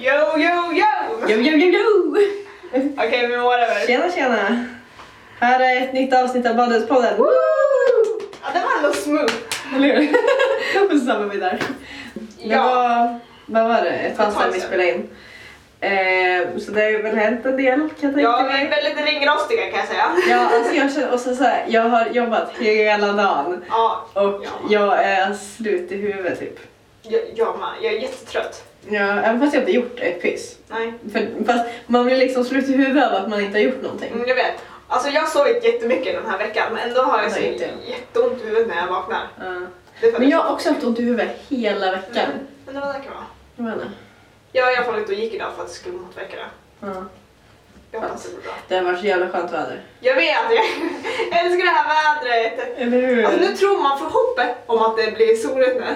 Yo, yo, yo! Jo, jo, jo, jo! Okej, men whatever. Tjena, tjena! Här är ett nytt avsnitt av Badhuspodden. Woo! Ja, den var ändå smooth. Eller hur? Och så samlar vi där. Det Ja. var, vad var det, ett tag Ett tag sedan vi sedan. spelade in. Eh, så det har ju väl hänt en del kan jag tänka Ja, vi är mig. väldigt ringrostiga kan jag säga. Ja, alltså jag känner, och så, så här, jag har jobbat hela dagen Ja, och Ja. jag är slut i huvudet typ. jag, jag med. Jag är jättetrött. Ja, även fast jag inte gjort ett piss. Nej, För, fast man blir liksom slut i huvudet av att man inte har gjort någonting. mm, jag vet. Alltså jag har sovit jättemycket den här veckan, men ändå har jag så Nej, inte jag. jätteont i huvudet när jag vaknar. Ja. Det är för- Men jag har också haft ont i huvudet hela veckan. Mm, Men det var säkert bra. Jag menar. Jag var i alla fall ute och gick idag för att det skulle motverka det. Ja. Jag hoppas det blir bra. Det har varit så jävla skönt väder. Jag vet, jag älskar det här vädret. Eller hur? Alltså nu tror man för hoppet om att det blir soligt nu.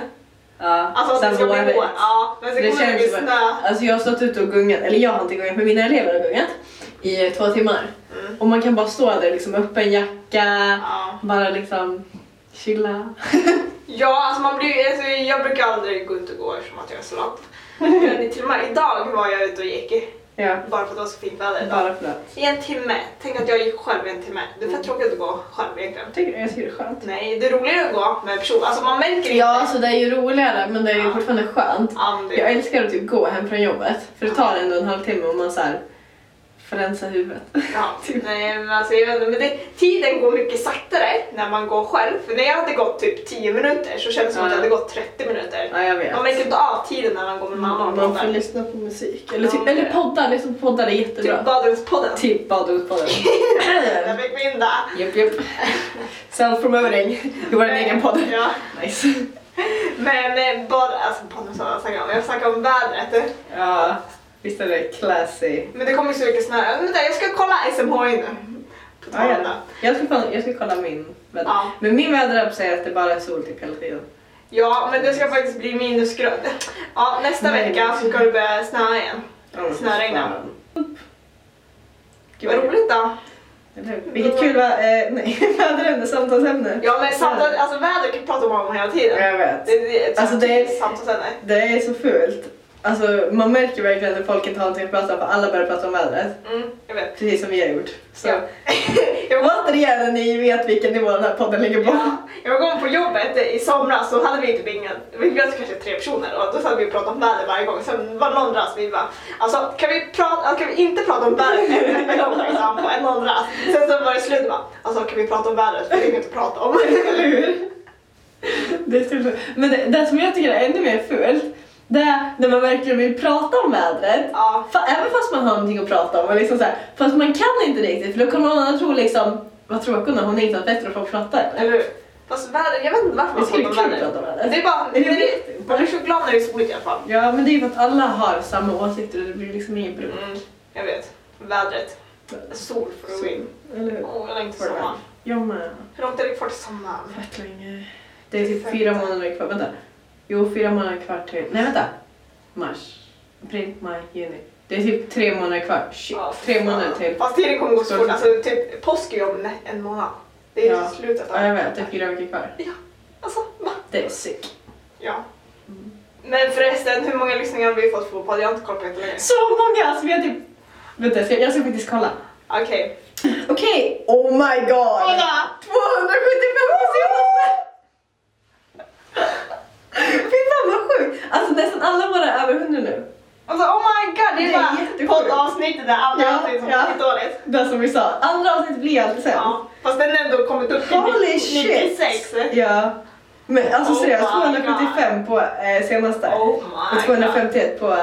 ja, Alltså att det ska bli vår. Ja, men sen Det kommer det bli känns som snö. att, alltså jag har stått ute och gungat, eller jag har inte gungat men mina elever har gungat i två timmar. Mm. Och man kan bara stå där liksom öppen jacka, Ja. bara liksom chilla. Ja, alltså man blir, alltså jag brukar aldrig gå ut och gå som att jag är slapp. Men till och med idag var jag ute och gick, ja, bara för att det var så fint väder idag. bara Mm. för att. I en timme. Tänk att jag gick själv i en timme. Det är fett tråkigt att gå själv egentligen. Jag tycker, jag tycker det är skönt. Nej, det är roligare att gå med person. Alltså man märker Ja, inte. alltså det är ju roligare men det är ju Ja. fortfarande skönt. Ja, men det- Jag älskar att typ gå hem från jobbet för det tar ändå en halvtimme om man såhär får rensa huvudet. Ja, Typ. nej men alltså jag vet inte, men det, tiden går mycket saktare när man går själv. För när jag hade gått typ 10 minuter så kändes det som att jag Ja. hade gått 30 minuter. Ja, jag vet. Man märker inte av tiden när man går med mamma och Man får pratar. lyssna på musik. Eller, typ, Ja, eller det- poddar, liksom poddar är Typ jättebra. badrumspodden. Typ badrumspodden. Där fick vi in det. Japp, japp. Self-promoting. Det var en egen podd. Ja. Nice. Men eh, bad, alltså podden som jag snackar om, jag snackar om vädret. Ja, visst är det classy. Men det kommer ju så mycket snö. Men vänta, jag ska kolla SMH nu. På Ja, ja. ja. Jag ska, kolla, jag ska kolla min väder. Ja. Men min väderapp säger att det bara är sol typ hela tiden. ja, men det ska faktiskt bli minusgrad. Ja, nästa Nej. vecka så ska det börja snöa igen. Mm, Snöregnar. fan. Gud, Vad roligt då. eller hur? Vilket kul va? Eh, nej, väderämne, samtalsämne. Ja, men samtal, alltså väder kan vi prata om hela Ja, tiden. Jag vet. Det, det, är ett Alltså, det är- samtalsämne. Det är så fult. Alltså, man märker verkligen att folk inte har någonting att prata om för alla börjar prata om vädret. Mm, jag vet. Precis som vi har gjort. Så. Ja. Jag var- Återigen, ni vet vilken nivå den här podden ligger på. Ja, jag var gång på jobbet i somras så hade vi typ ingen, vi var kanske tre personer och då satt vi och pratade om väder varje gång. Sen var det någon rast vi bara, alltså kan vi, prata, kan vi inte prata om vädret en gång liksom, på en någon rast? Sen så var det slut bara, alltså kan vi prata om vädret för det är inget att prata om. Eller hur? Det är så sjukt. Men det, det som jag tycker är ännu mer fult, det är när man verkligen vill prata om vädret. Ja, Fa- Även fast man har någonting att prata om. Och liksom så här, fast man kan inte riktigt för då kommer någon annan tro liksom, vad tråkigt hon är, hon är inte något bättre att få prata eller? eller hur? Fast väder, jag vet inte varför Det man skulle pratar vara om kul att väder. prata om Det vädret. är bara, Jag det är, vet inte. man blir så glad när det är soligt i alla fall. Ja men det är ju för att alla har samma åsikter och det blir liksom ingen bruk. Mm, jag vet. Vädret. Sol for the win. Eller hur? Åh, jag längtar till For the sommaren. Jag med. Hur långt är det kvar till sommaren? Fett länge. Det är typ fyra månader kvar. Vänta. Jo, fyra månader kvar till... Nej, vänta. Mars, april, maj, juni. Det är typ tre månader kvar. Shit. Ja, tre fan. månader till. Fast tiden kommer gå så Står fort. det- Alltså, typ, påsk är ju om en månad. Det är ju Ja. slutet Ja, jag vet. Det är fyra veckor kvar. Alltså, va? Det Mm. är sick. Ja. Men förresten, hur många lyssningar har vi fått på podden? Jag har inte koll på det längre. Så många! Alltså, vi har typ... Vänta, jag ska, jag ska faktiskt kolla. Okej. Okej. Oh my god! Kolla! 275 på senaste! Fy fan vad sjukt! Alltså nästan alla våra är över 100 nu. Alltså, oh my god, det Det är är jättesjukt. bara poddavsnittet där alla Ja, alltid som ja. skitdåligt. Det som vi sa, andra avsnittet blir alltid sen. Ja. Fast den har ändå kommit upp till Holy 96. shit! Ja. Men alltså Oh seriöst, my 275 på eh, senaste. Oh och my 251 på... Eh,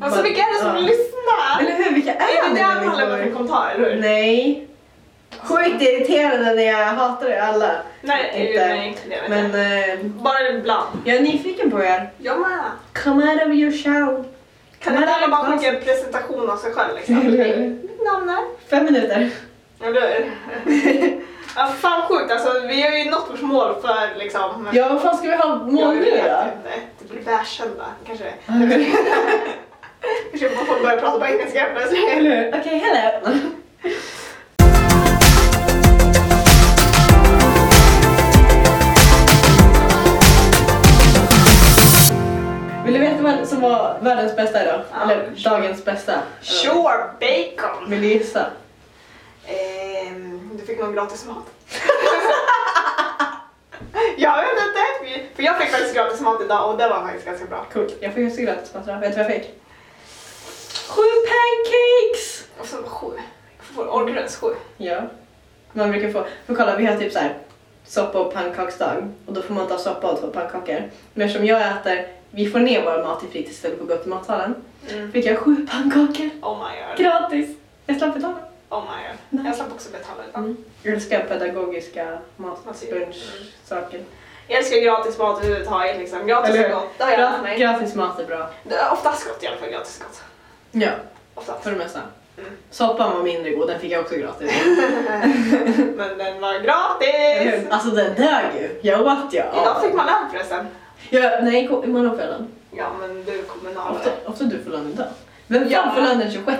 Alltså vad- vilka är det som ja. lyssnar? Eller hur, vilka Är är det där man det? lämnar för människor? kommentar, eller hur? Nej. Sjukt irriterande när jag hatar er alla. Nej, det är ju- nej, det vet jag Men inte. eh, Bara ibland. jag är nyfiken på er. Jag med. Come out of your shell. Kan Men inte det är alla bara konstigt. skicka en presentation av sig själv liksom? Eller hur? Mitt namn är... Fem minuter. Eller hur? ja, fan sjukt alltså, vi har ju nått vårt mål för liksom... Ja, vad fan ska vi ha Jag mål nu vet då? inte. Det blir världskända kanske. Kanske man får börja prata på engelska helt plötsligt. Eller hur? Okej, hello. Vill du veta vad den som var världens bästa idag? Ja. Eller dagens bästa? Eller- Sure, bacon! Vill du gissa? Ehm, du fick någon gratis mat. jag vet inte, för jag fick faktiskt gratis mat idag och det var faktiskt ganska bra. Coolt. Jag fick också gratis mat idag. Vet du vad jag fick? Sju pancakes! Och så sju. Får- Orkar du ens sju? Ja. Man brukar få... För kolla, vi har typ så här soppa och pannkaksdag. Och då får man ta soppa och två pannkakor. Men eftersom jag äter... Vi får ner vår mat i fritids istället för att gå till matsalen. Fick jag sju pannkakor. Oh my god. Gratis! Jag slapp betala. Oh my god. Nej. Jag slapp också betala idag. Jag älskar pedagogiska matbunch-saker. Jag älskar gratis mat överhuvudtaget. Liksom. Gratis Eller är hur? gott. Det har jag lärt Gra- mig. gratis mat är bra. Det är Oftast gott i alla fall. Gratis gott. Ja, Oftast. för det mesta. Mm. Soppan var mindre god, den fick jag också gratis. Men den var gratis! alltså den dög ju. Jag åt jag. Idag fick man lön förresten. Ja, nej, ko- imorgon får jag den. Ja men du är kommunalare. Ofta, ofta du får lön idag. Vem fan Ja. får lön den 26?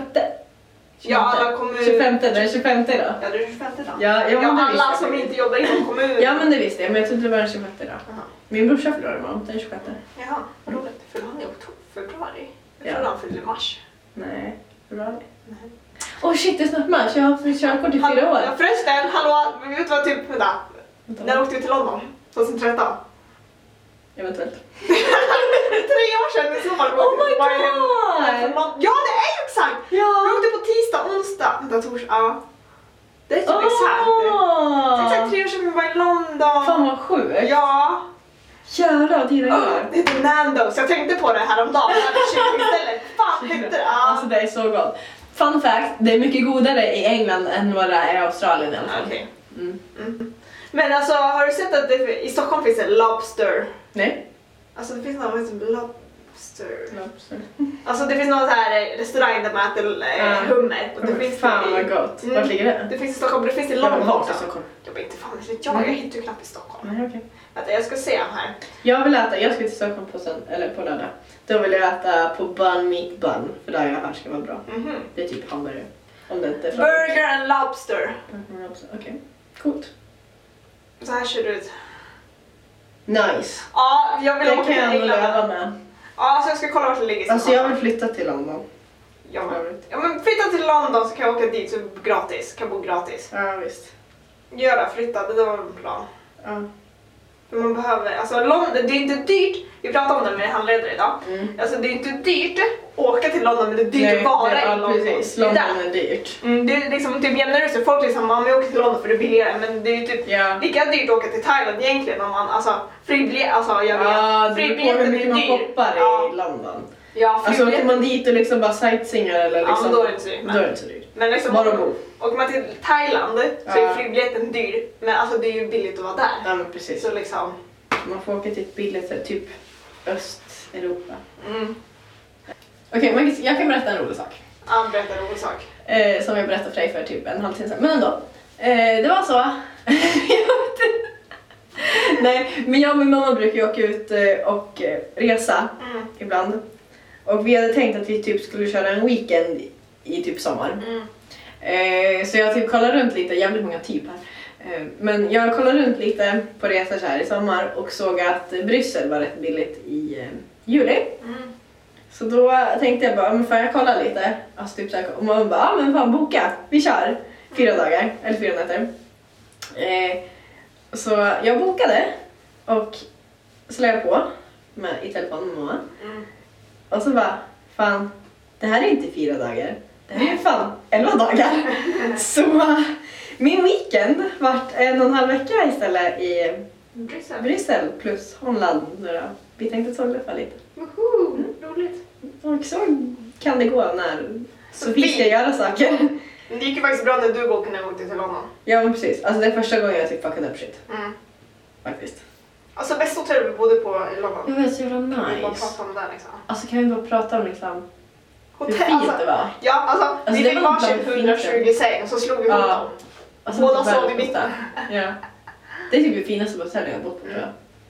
25? alla kommer- 25, den är 25 idag. Ja du är 25 idag. Ja, ja, Ja, men det visste alla jag. som inte jobbar inom kommunen. Ja men det visste jag, men jag trodde det var den 26 idag. Jaha. Min brorsa förlorar imorgon, den 26. Jaha, vad roligt. Fyller han i oktober? Februari? Jag Ja. trodde han fyllde i mars. Nej, februari. Åh shit, det är snart mars, jag har haft mitt körkort i fyra år. Ja, förresten, hallå! Men vet du vad typ, vänta. När åkte vi till London? 2013? Eventuellt. Tre år sedan i så fall. Oh my Var typ jag- God! var jag från London? Ja, det är ju exakt! Vi Ja! åkte på tisdag, onsdag, vänta, torsdag. Ja. Det är typ exakt. Det är Exakt tre år sedan vi var i London. Ah. Fan vad sjukt! Ja. Jävlar, tiden Oh, går. det heter Nandos. Jag tänkte på det häromdagen. Jag hade kycklingstället. Fan hette det? Ja. Alltså det är så gott. Fun fact, det är mycket godare i England än vad det är i Australien i alla fall. Okej. Mm. Mm. Men alltså har du sett att det, i Stockholm finns en Lobster? Nej? Alltså det finns någon som heter Lobster. Alltså det finns någon så här eh, restaurang där man äter eh, Mm. hummer. Och det finns Fan i- vad gott. Mm. Vart ligger det? Det finns i Stockholm, det finns i Jag London vill åka också. till Stockholm. Jag vet inte fan, vet jag, jag Mm. hittar ju knappt i Stockholm. Nej, okej. Vänta, jag ska se här. Jag vill äta, jag ska till Stockholm på, sönd- eller på lördag. Då vill jag äta på Bun Meat Bun, för där jag har ska vara bra. Mhm. Det är typ hamburgare. Om det inte är från... Burger and Lobster. Mm, också. Okej, coolt. Så här ser det ut. Nice. Ja, jag vill Det åka kan till jag ändå leva England. med. Ja, så jag ska kolla vart det ligger i Alltså jag Stockholm. vill flytta till London. Jag för vill... övrigt. Ja men flytta till London så kan jag åka dit så gratis, kan bo gratis. Ja visst. Göra, flytta, det var en plan. Ja. Mm. För man behöver, alltså London, det är inte dyrt, vi pratade om det med handledare idag. Mm. Alltså det är inte dyrt att åka till London men det är dyrt Nej, att vara det- ja, i London. Precis, Det är London där. är dyrt. Mm, det är liksom typ jämnare ut sig. folk liksom, ja men jag åker till London för det är billigare men det är ju typ Ja. lika dyrt att åka till Thailand egentligen om man, alltså fribiljet, alltså jag vet. Ja, det beror på hur fribiljetten mycket man är dyr. shoppar Ja. i London. Ja, Alltså åker fribiljetten. man dit och liksom bara sightseeingar eller Ja, men liksom... då är det inte så dyrt, Då nej. är det inte så dyrt. Men liksom, Bara bo. åker man till Thailand så Ja. är flygbiljetten dyr men alltså det är ju billigt att vara där. Ja men precis. Så liksom, Man får åka till ett billigt ställe, typ Östeuropa. mm. Okej, man kan- jag kan berätta en rolig sak. Ja, berätta en rolig sak. Eh, som jag berättade för dig för typ en halvtimme sedan. Men ändå. Eh, det var så. Jag vet inte. Nej, men jag och min mamma brukar ju åka ut eh, och eh, resa Mm. ibland. Och vi hade tänkt att vi typ skulle köra en weekend i typ sommar. Mm. Eh, så jag typ kollar runt lite, jävligt många typ här. Eh, men jag kollar runt lite på resor så här i sommar och såg att eh, Bryssel var rätt billigt i eh, juli. Mm. Så då tänkte jag bara, men fan jag kollar lite. Alltså typ så här, och man bara, ja men fan boka, vi kör. Fyra dagar, eller fyra nätter. Eh, så jag bokade och så la jag på med, i telefon med mamma. Mm. Och så bara, fan det här är inte fyra dagar. Det här är fan elva dagar. Så min weekend vart en och en halv vecka istället i Bryssel. Bryssel plus Holland nu då. Vi tänkte solreffa lite. Woho! Roligt. Och så kan det gå när Sofie Sofie. ska göra saker. Men Det gick ju faktiskt bra när du åkte när jag åkte till London. Mm. Ja men precis, alltså det är första gången jag typ fuckat upp shit faktiskt. Alltså bästa hotellet vi bodde på i London. Jag vet, så jävla Vi bara pratade om det här, liksom. Alltså kan vi bara prata om liksom hur Hotell, fint det alltså, var? ja, alltså, vi det fick var inte varsin bara 120 säng och så slog vi ihop Ja. dem. Alltså, Båda typ världens sov i bästa. Ja. Det är typ det finaste hotellet jag har bott på tror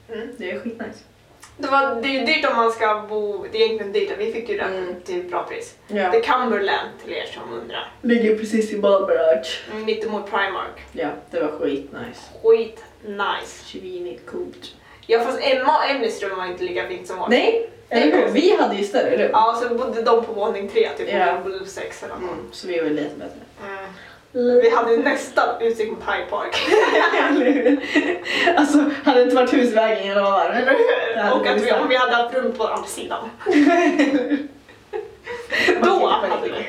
jag. Mm. Det är skitnice. Det, var, det är ju dyrt om man ska bo, det är egentligen dyrt, vi fick ju det Mm. till bra pris. Ja. Det är Cumberland till er som undrar. Ligger precis i Marlborough Arch. Mittemot Primark. Ja, det var skitnice. Skit nice. Svinigt coolt. Ja fast Emma och Emelies rum var inte lika fint som vårt. Nej, Eller hur? Vi hade ju större rum. Ja, sen bodde de på våning tre, typ Ja. och vi bodde på sex eller något. Mm, så vi var lite bättre. Mm. Vi hade ju nästan utsikt på Pike Park. Eller hur? Alltså, hade det inte varit husvägen eller vad var det? Eller hur? Det hade Och vi att vi, visst. om vi hade haft rum på andra sidan. Då Okej, hade vi.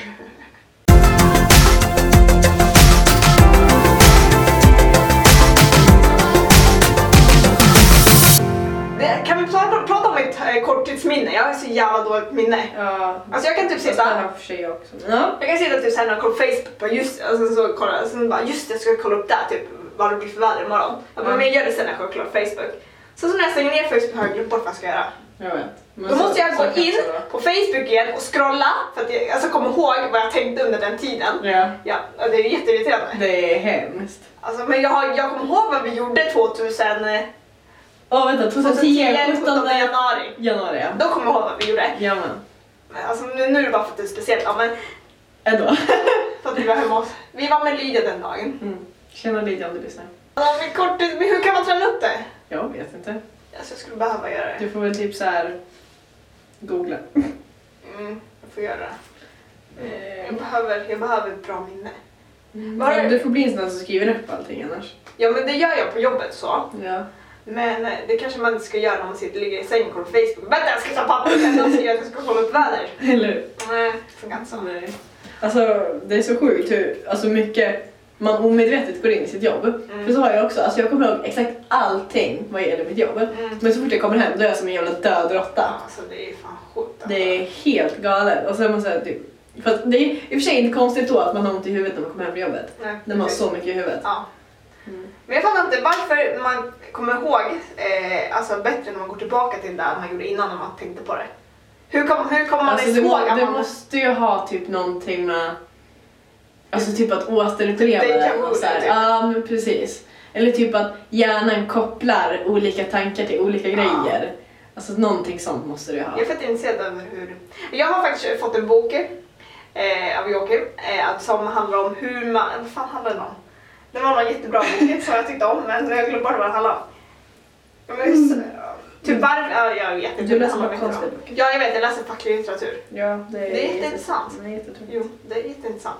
Det- Kan vi prata, prata om mitt eh, korttidsminne? Jag har så jävla dåligt minne. Ja. Alltså jag kan typ Fast det sitta här för sig också. men Ja. Jag kan se det typ såhär när jag kollar på Facebook, bara just, alltså, så kollar, jag, sen bara just det, jag ska kolla upp där typ vad det blir för väder imorgon. Jag bara, Mm. men jag gör det sen när jag kollar på Facebook. Sen så när jag stänger ner Facebook har jag glömt bort vad jag ska göra. Jag vet. Men Då så- måste jag så gå kan det in vara. på Facebook igen och scrolla för att jag alltså, kommer ihåg vad jag tänkte under den tiden. Ja. Ja, och det är jätteirriterande. Det är hemskt. Alltså, men jag, har, jag kommer ihåg vad vi gjorde 2000, eh, Åh vänta, 2010, 17 17 januari. januari ja. Då kommer jag ihåg vad vi gjorde. Jajamän. Men, Alltså, nu, nu är det bara för att det är speciellt. Ja, men, Ändå. för att vi var hemma hos... Vi var med Lydia den dagen. Mm. Tjena Lydia om du lyssnar. Ja, men kort, men hur kan man träna upp det? Jag vet inte. Alltså, jag skulle behöva göra det. Du får väl typ så här googla. Mm, jag får göra det. Jag behöver, jag behöver ett bra minne. Vad har Men du- Eh, du får bli en sån där som skriver upp allting annars. Ja men det gör jag på jobbet så. Ja. Men eh, det kanske man inte ska göra när man sitter, ligger i sängen och kollar på Facebook. Vänta jag ska ta papper sen och säga att jag ska kolla upp väder. Eller Nej, det funkar inte så. Nej. Alltså det är så sjukt hur alltså, mycket man omedvetet går in i sitt jobb. Mm. För så har jag också, alltså jag kommer ihåg exakt allting vad gäller mitt jobb. Mm. Men så fort jag kommer hem då är jag som en jävla död råtta. Alltså det är fan sjukt. alltså. Det är helt galet. Och så är man så här, typ, fast det är i och för sig inte konstigt då att man har ont i huvudet när man kommer hem från jobbet. Nej, När man har precis. så mycket i huvudet. Ja. Mm. Men jag fattar inte varför man kommer ihåg eh, alltså bättre när man går tillbaka till det där man gjorde innan när man tänkte på det. Hur kommer hur kommer man Alltså, det, ihåg må, att det man måste ju ha typ någonting med... Alltså typ att återuppleva Typ déjà vu, och så här. typ. Ja, men precis. Eller typ att hjärnan kopplar olika tankar till olika Ja. grejer. Alltså någonting sånt måste du ju ha. Jag är fett intresserad över hur... Jag har faktiskt fått en bok eh, av Joakim eh, som handlar om hur man... Vad fan handlar den om? Det var någon jättebra bok som jag tyckte om men jag glömde bort vad den handlade om. Ja, men så- Typ varför... Ja, jag vet inte. Mm. Du läser Det handlar bara inte om. konstiga böcker. Ja, jag vet. Jag läser facklig litteratur. Ja, det är jätte- jätteintressant. Det är jättetråkigt. Jo, det är jätteintressant.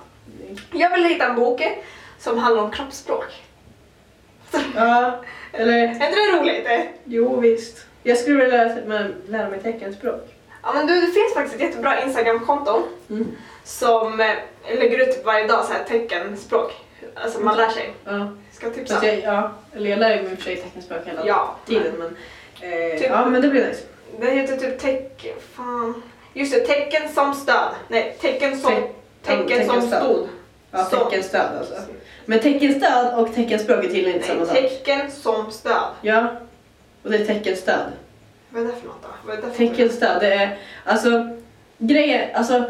Jag vill hitta en bok eh, som handlar om kroppsspråk. Ja, eller Är inte det roligt? Eh, jo visst. Jag skulle vilja lära, men, lära mig teckenspråk. Ja, men du, det finns faktiskt ett jättebra Instagram-konto Mm. som eh, lägger ut typ varje dag så här teckenspråk. Alltså man lär sig. Ja. Ska jag tipsa? Fast jag, ja, eller jag lär ju mig i och för sig teckenspråk hela Ja. tiden men... Eh, Typ- Ja men det blir nice. Den heter typ tecken... Fan. Just det, tecken som stöd. Nej, tecken som... Te- tecken ja, som teckenstöd. stod. Ja, Så- teckenstöd alltså. Men teckenstöd och teckenspråk är tydligen inte samma Nej, sak. tecken som stöd. Ja. Och det är teckenstöd. Vad är det för något då? Vad är det för Teckenstöd, det är alltså grejer, alltså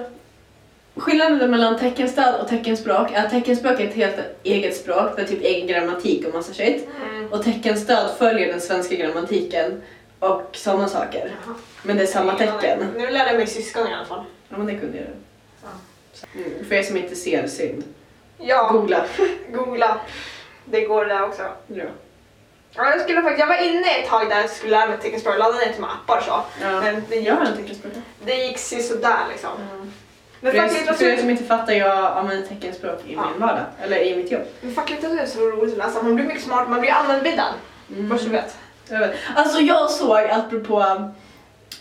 skillnaden mellan teckenstöd och teckenspråk är att teckenspråk är ett helt eget språk med typ egen grammatik och massa shit. Mm. Och teckenstöd följer den svenska grammatiken och sådana saker. Jaha. Men det är samma tecken. Nu lärde jag mig syskon i alla fall. Ja men det kunde jag. Ja. Mm, för er som inte ser, synd. Ja, Googla. googla. Det går där också. Ja. Ja, jag, skulle faktiskt, jag var inne ett tag där jag skulle lära mig teckenspråk. Jag laddade ner till med appar och så. ja. Men det, Jag har en teckenspråk. det gick sådär liksom. Men För er, för er facklitteratur som inte fattar, jag använder teckenspråk i Ja. min vardag. Eller i mitt jobb. men facklitteratur är så roligt att läsa. Man blir mycket smartare, man blir användbildad. Mm. Vad du vet. Jag vet. Alltså jag såg, apropå,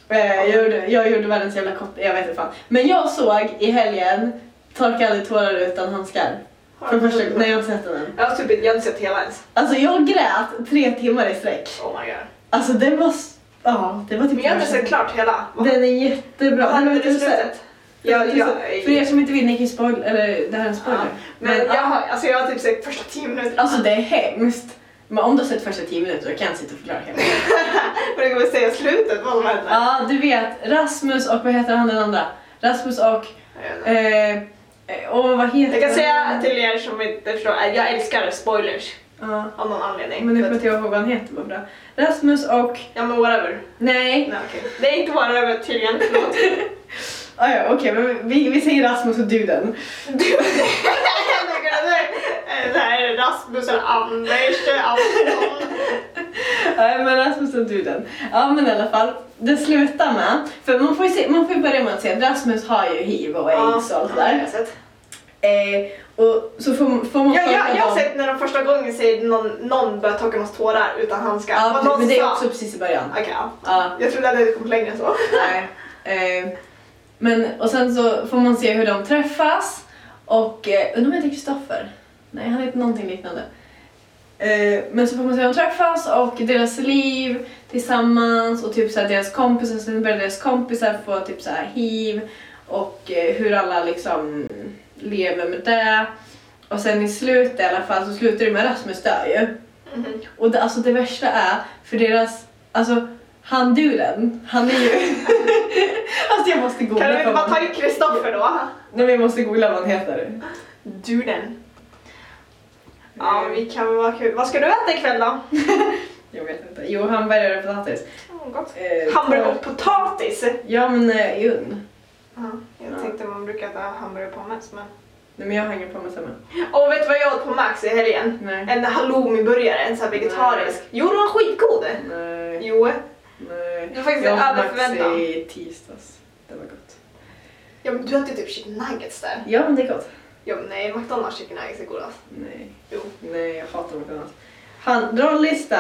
eh, jag, gjorde, jag gjorde världens jävla kort, jag vet inte fan. Men jag såg i helgen Torka aldrig tårar utan handskar. För första gången, nej jag har inte sett den än. Jag har typ jag har inte sett hela ens. Alltså jag grät tre timmar i sträck. Oh my god. Alltså den var, s- ja det var typ Men jag har inte sett klart hela. Vad Den är jättebra. vad Den har händer inte i sett. slutet? Jag, jag, För er som inte vill, ni kan ju spoil, eller det här är en spoiler. Ja, men jag, har, alltså jag har typ sett första tio minuterna. Alltså det är hemskt. Men om du har sett första tio minuter då kan jag sitta och förklara hemskt. Och det kommer säga slutet vad som händer. Ja, du vet Rasmus och vad heter han den andra? Rasmus och... Jag vet inte. Eh, eh, åh, vad heter Jag kan säga till er som inte förstår, eh, jag älskar spoilers Ja, av någon anledning. men nu För kommer att- jag inte ihåg vad han heter. Vad bra. Rasmus och... Ja men whatever. Nej. Nej, okej. Det är inte whatever tydligen, förlåt. Ah, ja, okej, men vi, vi säger Rasmus och duden. Du, det här är Rasmus och Anders Andersson. Nej men Rasmus och duden. Ja men i alla fall, det slutar med, för man får ju, se, man får ju börja med att se att Rasmus har ju hiv och aids och allt det där. jag har sett. Eh, och så får, får man Ja, jag, följa jag har dem. sett när de första gången ser någon, någon börja torka massa tårar utan handskar. Vad Ja, någon men det är sa. också precis i början. Okej, ja. Ja. Jag trodde att det kom längre än så. Nej. Eh, men, och sen så får man se hur de träffas och eh, undrar om han heter Kristoffer? Nej, han heter någonting liknande. Eh, men så får man se hur de träffas och deras liv tillsammans och typ så här deras kompisar, sen börjar deras kompisar få typ så här hiv och eh, hur alla liksom lever med det. Och sen i slutet i alla fall så slutar det med Rasmus dör ju. Mhm. Och det, alltså det värsta är, för deras, alltså han duden, han är ju... alltså jag måste googla. Kan du inte vad bara man- ta in Kristoffer då? Nej men jag måste googla vad han heter. Duden. Ja, vi kan vara kul. Vad ska du äta ikväll då? Jag vet inte. Jo, hamburgare och potatis. Oh, gott. Eh, Hamburgare tar- och potatis. Ja men eh, i ugn. Ja, jag tänkte man brukar äta hamburgare på Max men... Nej men jag har ingen pommes hemma. Och vet du vad jag åt på Max i helgen? Nej. En halloumiburgare, en sån här vegetarisk. Jo, den var skitgod! Nej. Jo. Nej. Det var faktiskt jag åt över Max förväntan. i tisdags. Det var gott. Ja, men du äter typ chicken nuggets där. Ja men det är gott. Ja, men nej, McDonalds chicken nuggets är godast. Nej. Jo. Nej, jag hatar McDonalds. Han, dra en lista.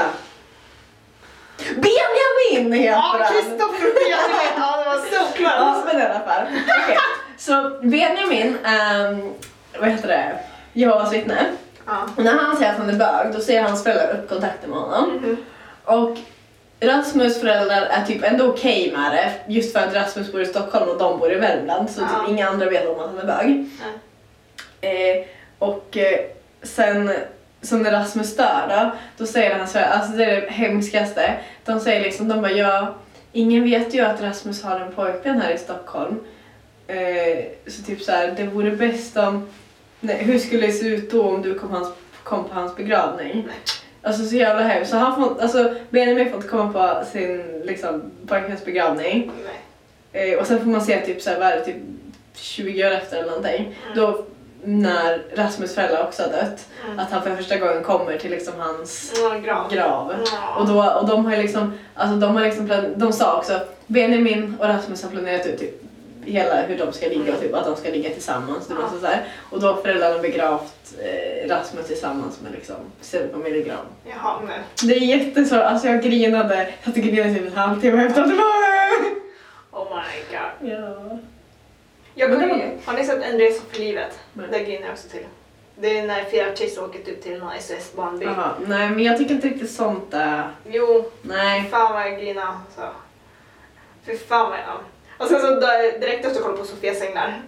Benjamin heter Ja, han. Kristoffer och Benjamin! Ja, det var Ja, såklart! men i alla fall. Okej, Så Benjamin, um, vad heter det, Jehovas vittne. Ja. Och när han säger att han är bög, då ser hans föräldrar upp kontakten med honom. Mhm. Och Rasmus föräldrar är typ ändå okej med det, just för att Rasmus bor i Stockholm och de bor i Värmland, så Ja. typ inga andra vet om att han är bög. Eh, och eh, sen, så när Rasmus dör då, då säger hans föräldrar, alltså det är det hemskaste, de säger liksom, de bara ja, ingen vet ju att Rasmus har en pojkvän här i Stockholm. Eh, så typ så här, det vore bäst om, nej, hur skulle det se ut då om du kom, hans, kom på hans begravning? Nej. Alltså så jävla hemskt. Så han får, alltså Benjamin får inte komma på sin liksom, pojkväns begravning. Nej. Eh, och sen får man se typ så här, vad är det, typ 20 år efter eller någonting. Då när Rasmus föräldrar också har dött. Mm. Att han för första gången kommer till liksom hans Ja, grav. grav. Ja. Och, då, och de har ju liksom, alltså de har liksom plan, de sa också, Benjamin och Rasmus har planerat ut typ hela hur de ska ligga, och typ att de ska ligga tillsammans. Typ, Ja. och, så där. och då har föräldrarna begravt eh, Rasmus tillsammans med liksom sin familjegrav. Jaha, men... Det är jättesvårt, alltså jag grinade, jag satt och grinade typ en halvtimme efter att det var Oh my god. Ja. Jag Men det kommer, har var ni sett En resa för livet? Nej. Det grinar jag också till. Det är när fyra artister åker ut till någon SOS barnby. Jaha, nej men jag tycker inte riktigt sånt där. Jo, Nej. fan vad jag grinade. Så. Fy fan vad jag... Och sen så dö- direkt efter kollade jag på Sofias änglar.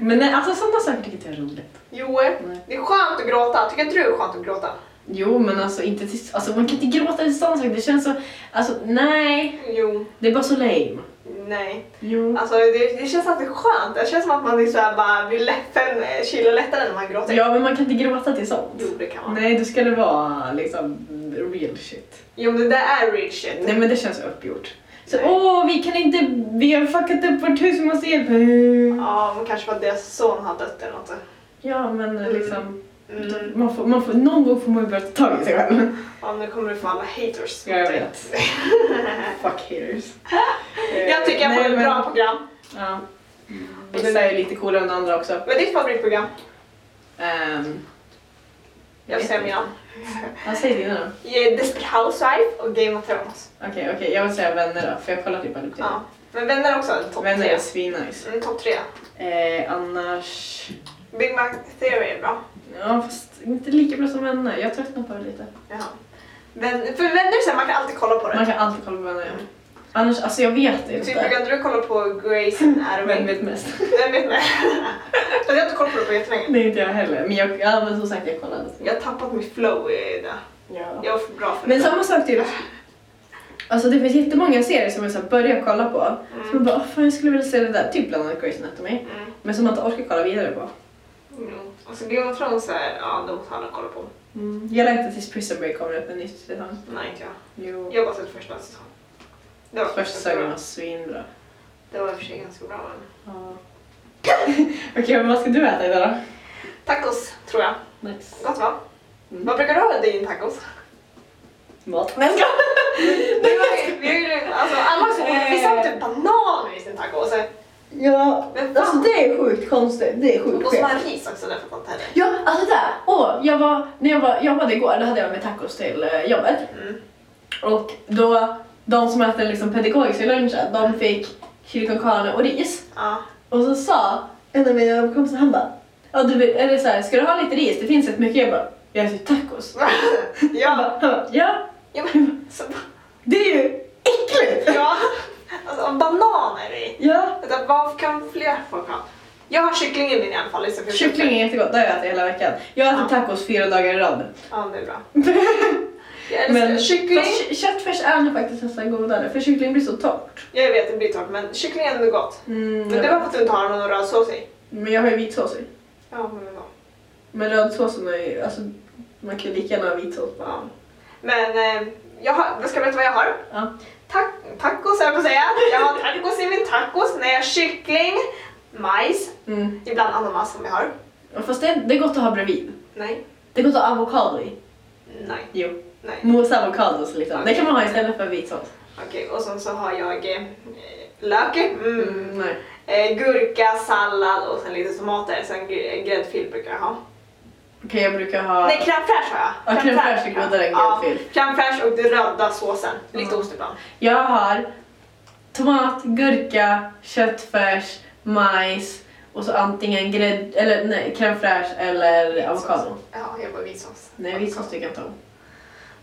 Men nej, alltså sådana saker tycker inte jag är roligt. Jo, Nej. det är skönt att gråta. Tycker inte du det är skönt att gråta? Jo men alltså inte till, alltså man kan inte gråta till sådana saker, det känns så, alltså nej. Jo, Det är bara så lame. nej. Jo. Alltså det, det känns alltid skönt. Det känns som att man är så här bara blir ledsen, eh, kyler lättare när man gråter. Alltså, Ja men man kan inte gråta till sånt. Jo, det kan man. Nej, då ska det vara liksom real shit. Jo, men det där är real shit. Nej men det känns uppgjort. Så Nej. åh, vi kan inte, vi har fuckat upp vårt hus, vi måste hjälpa. Ja, men kanske för att deras son har dött eller något. Ja men Mm. liksom, Mm. man får, man får, någon gång får man ju börja ta tag i sig själv. Ja, nu kommer du få alla haters. Ja, jag vet. Fuck haters. jag tycker jag får Nej, ett men- bra program. Ja. Mm. Och den där är ju lite coolare än den andra också. Vad är ditt favoritprogram? Ehm, Jag vet vill säga inte. mina. Ja, säg dina då. Ja, Desperate Housewife och Game of Thrones. Okej, okej, jag vill säga vänner då, för jag kollar typ aldrig på Ja. Men vänner också, en topp det. Vänner tre. är svinnice. Mm, topp tre. Eh, annars... Big Bang Theory är bra. Ja, fast inte lika bra som vänner. Jag tröttnar på det lite. Jaha. Vän, för vänner så här, man kan alltid kolla på Man det. kan alltid kolla på vänner. ja. Annars, alltså jag vet Typ inte. brukar inte du kolla på Grace Vem Anatomy? vet mest? Vem vet mig? Jag har inte kollat på det på jättelänge. Nej, inte jag heller. Men jag, ja, men som sagt, jag kollade. Jag har tappat mitt flow i det. Ja. Jag är för bra för Men det. samma sak typ. Alltså det finns jättemånga serier som jag så här börjar kolla på. Mm. Som jag bara, "Åh, fan jag skulle vilja se det där. Typ bland annat Grey's Anatomy. Mm. Men som man inte orkar kolla vidare på. Mm. Alltså Game of Thrones är, ja, de måste alla kolla på. Jag längtar tills Prison Break kommer upp en ny säsong. Nej, inte jag. Jo. Jag har bara sett första säsongen. Det var Första säsongen var bra. svinbra. Det var i och för sig ganska bra. Men... Ja. Okej, men vad ska du äta idag Tacos, tror jag. då? Nice. Gott va? Mm. Vad brukar du ha i din tacos? Mat. Nej, jag skojar. Det var ju- vi gjorde- Alltså alla så Eh. vi sa typ bananer i sin tacos. Ja, Men fan. alltså det är sjukt konstigt. Det är Och sjukt så var skevt. det ris också, det fattar inte heller. Ja, alltså där. Åh, jag var, när jag var, jobbade igår, då hade jag med tacos till eh, jobbet. Mm. Och då, de som äter liksom pedagogisk i lunchen, de fick chili con carne och ris. Ja. Och så sa en av mina kompisar, han bara, ja du vill, eller så här, ska du ha lite ris? Det finns rätt mycket. Jag bara, jag äter tacos. Han ja. bara, han bara, ja, ja, men, så, det är ju äckligt! ja. Alltså, bananer i. Ja. Vänta, Vad kan fler folk ha? Jag har kyckling i min i alla fall. Liksom, för- Kyckling är jättegott, det har jag ätit hela veckan. Jag äter Ja. tacos fyra dagar i rad. Ja, det är bra. Jag älskar Men kyckling. fast kö- köttfärs är nog faktiskt nästan godare, för kyckling blir så torrt. Jag vet, det blir torrt, men kyckling är ändå gott. Mm, Men det var för att du inte har någon röd sås i. men jag har ju vitsås i. Ja, men, ja. Men rödsåsen är ju, alltså man kan ju lika gärna ha vitsås på. ja. men eh, jag har, jag ska berätta vad jag har. Ja. Ta- tacos höll jag på att säga. Jag har tacos i min tacos. Nej, jag har kyckling, majs, Mm. ibland ananas som jag har. Ja, Fast det, det är gott att ha bredvid. Nej, Det är gott att ha avokado i. nej, Jo. nej. Mosa avokados liksom. Det kan man ha istället för vitsås. Okej, och sen så har jag eh, lök, mm. nej. eh, gurka, sallad och sen lite tomater. Sen gr- gräddfil brukar jag ha. Okej, jag brukar ha... Nej, crème fraîche har jag. Ja, crème fraîche är brukar jag ha. godare än Ja, gräddfil. Crème fraîche och den röda såsen. Lite Mm. ost ibland. Jag har tomat, gurka, köttfärs, majs och så antingen grädd... Eller nej, crème fraîche eller avokado. Ja, jag var vitsås. Nej, typ. vitsås tycker jag inte om.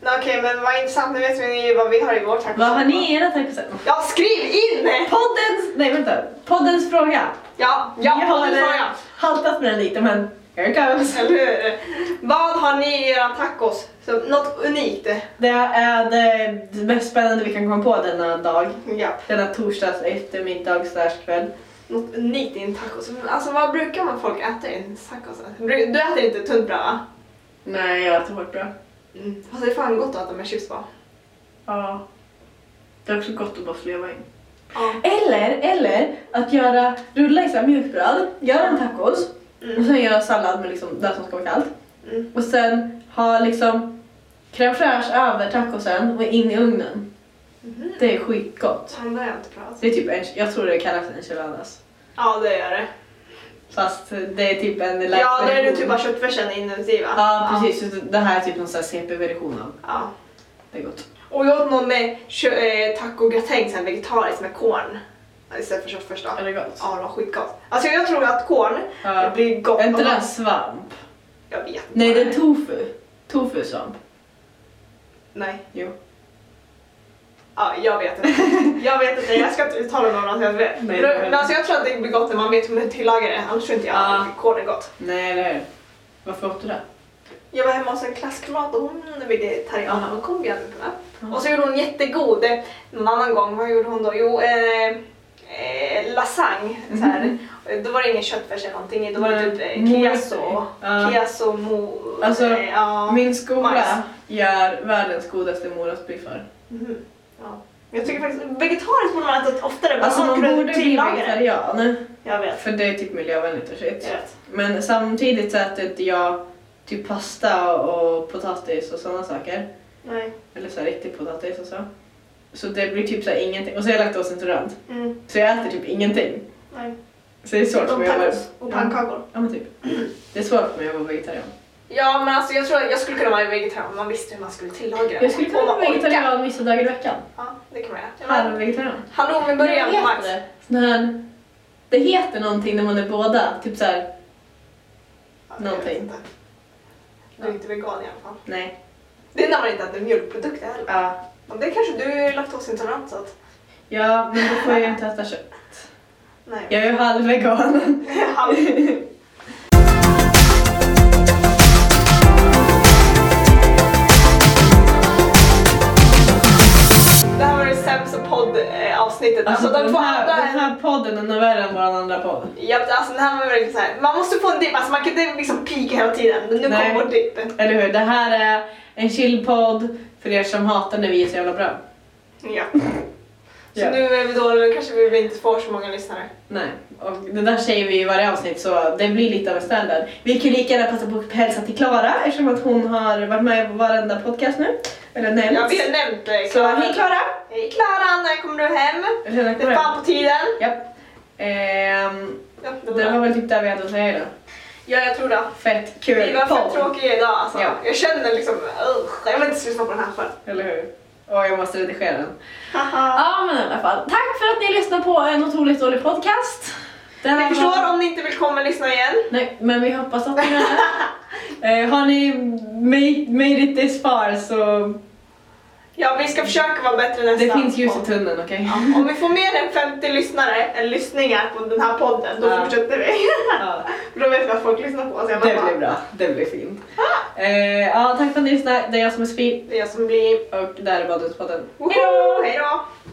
Nej, Okej, men vad intressant. Nu vet vi vad vi har i vår tacos. Vad har ni i era tacos? Ja, skriv in! Poddens... Nej, vänta. Poddens fråga. Ja, ja, Vi har har en eh, fråga. haltat med den lite, men here it goes. Eller hur? Vad har ni i era tacos? Så, något unikt? Det är det mest spännande vi kan komma på denna dag. Ja. Denna torsdags eftermiddag slash kväll. Något unikt i en tacos? Alltså vad brukar man folk äta i en tacos? Bru- Du äter inte tunt bröd va? Nej, jag äter hårt bra. Mm. Alltså det är fan gott att äta med chips på. Ja. Det är också gott att bara sleva in. Ja. Eller, eller att göra, rulla i så här mjukbröd, göra en tacos och Mm. sen göra sallad med liksom det som ska vara kallt. Mm. Och sen ha liksom crème fraîche över tacosen och in i ugnen. Mhm. Det är skitgott. Sån där har jag inte alltså. provat. Det är typ en, jag tror det kallas enchiladas. Ja det gör det. Fast det är typ en light Ja det är det version. typ bara köttfärsen inuti va? Ja precis, Så det här är typ någon sån här CP-version av. Ja. Det är gott. Och jag åt någon med kö- eh, tacogratäng, sen vegetariskt med korn. Istället för köttfärs då. Är det gott? Ja, det var skitgott. Alltså jag tror att korn Ja. det blir gott. Är inte om det man- här svamp? Jag vet inte. Nej vad det är tofu. Tofu-svamp. Nej. Jo. Ja, jag vet inte. Jag vet inte, jag ska inte uttala någon att jag vet. men Nej, nej. men alltså jag tror att det blir gott när man vet hur man tillagar det. Annars tror inte jag Ja. att korn är gott. Nej det är Varför åt du det? Jag var hemma hos en klasskamrat och hon är vegetarian. Ja. Hon kom bjöd mig på det. Ja. Och så gjorde hon jättegod, eh, någon annan gång, vad gjorde hon då? Jo, eh, eh, lasagne. Så här. Eh, Då var det ingen köttfärs eller någonting i, då var det Nej. typ eh, Morötter. keso. Ja. Keso, mo... Alltså, eh, ja. Min skola majs. gör världens godaste morotsbiffar. Mhm. Ja. Jag tycker faktiskt vegetariskt borde man äta oftare. bara Alltså man kunde borde bli tillaga det. vegetarian. Jag vet. För det är typ miljövänligt och Jag shit. vet. Men samtidigt så äter inte jag typ pasta och potatis och sådana saker. Nej. Eller så här riktig potatis och så. Så det blir typ så här ingenting. Och så är jag laktosintolerant. Mm. Så jag äter typ ingenting. Nej. Så det är svårt för Och mig att vara... tacos och pannkakor. Ja men typ. Det är svårt för mig att vara vegetarian. Ja men alltså jag tror att jag skulle kunna vara vegetarian om man visste hur man skulle tillaga det. Jag skulle kunna Om man vara orkar. vegetarian vissa dagar i veckan. Ja, det kan man göra. Ja, men- Halvvegetarian. Hallå, vi börjar med Max. det? Sån här... Det heter någonting när man är båda. Typ så här. Ja, Någonting. jag vet inte. Du är inte vegan i alla fall. Nej. Det är när man inte äter mjölkprodukter heller. Ja. Men det kanske du är laktosintolerant så att... Ja, men då får jag ju inte äta kött. Nej. Jag är ju halvvegan. Halv- Det här var det sämsta poddavsnittet. Alltså, Alltså, de den, två här, andra... den här podden den är värre än vår andra podd. Japp, alltså, det här var verkligen så här. Man måste få en dipp, alltså, man kan inte liksom pika hela tiden. Men nu Nej. kommer dippen. Eller hur? Det här är en chillpodd för er som hatar när vi är så jävla bra. Ja. Så Ja. nu är vi då, kanske vi inte får så många lyssnare. Nej, och det där säger vi i varje avsnitt så det blir lite av en standard. Vi kan ju lika gärna passa på att hälsa till Klara eftersom att hon har varit med på varenda podcast nu. Eller nämnts. Ja, vi har nämnt det. Så hej Klara! Hej Klara, när kommer du hem? Det är fan på tiden. Japp. Ehm, Ja, det var det var bra. väl typ det vi hade att säga idag. ja jag tror det. Fett Vi kul var för podd. tråkiga idag alltså. Ja. Jag känner liksom, usch, jag vill inte lyssna på den här för. Eller hur? Åh, jag måste redigera den. Haha. Ja, men i alla fall. Tack för att ni lyssnade på en otroligt dålig podcast. Den Vi här förstår var- om ni inte vill komma och lyssna igen. Nej, men vi hoppas att ni gör det. Eh, har ni made, made it this far så Ja, vi ska försöka vara bättre nästa det finns ljus i podd. tunneln, okej? Ja, Om vi får mer än 50 lyssnare, eller lyssningar på den här podden, då Ja. fortsätter vi. Ja. För då vet vi att folk lyssnar på oss. Jag Det bara, blir bra, det blir fint. Eh, ja, tack för att ni lyssnade. Det är jag som är Sofie Det är jag som blir... och det här är Badhuspodden. Hejdå! Hejdå!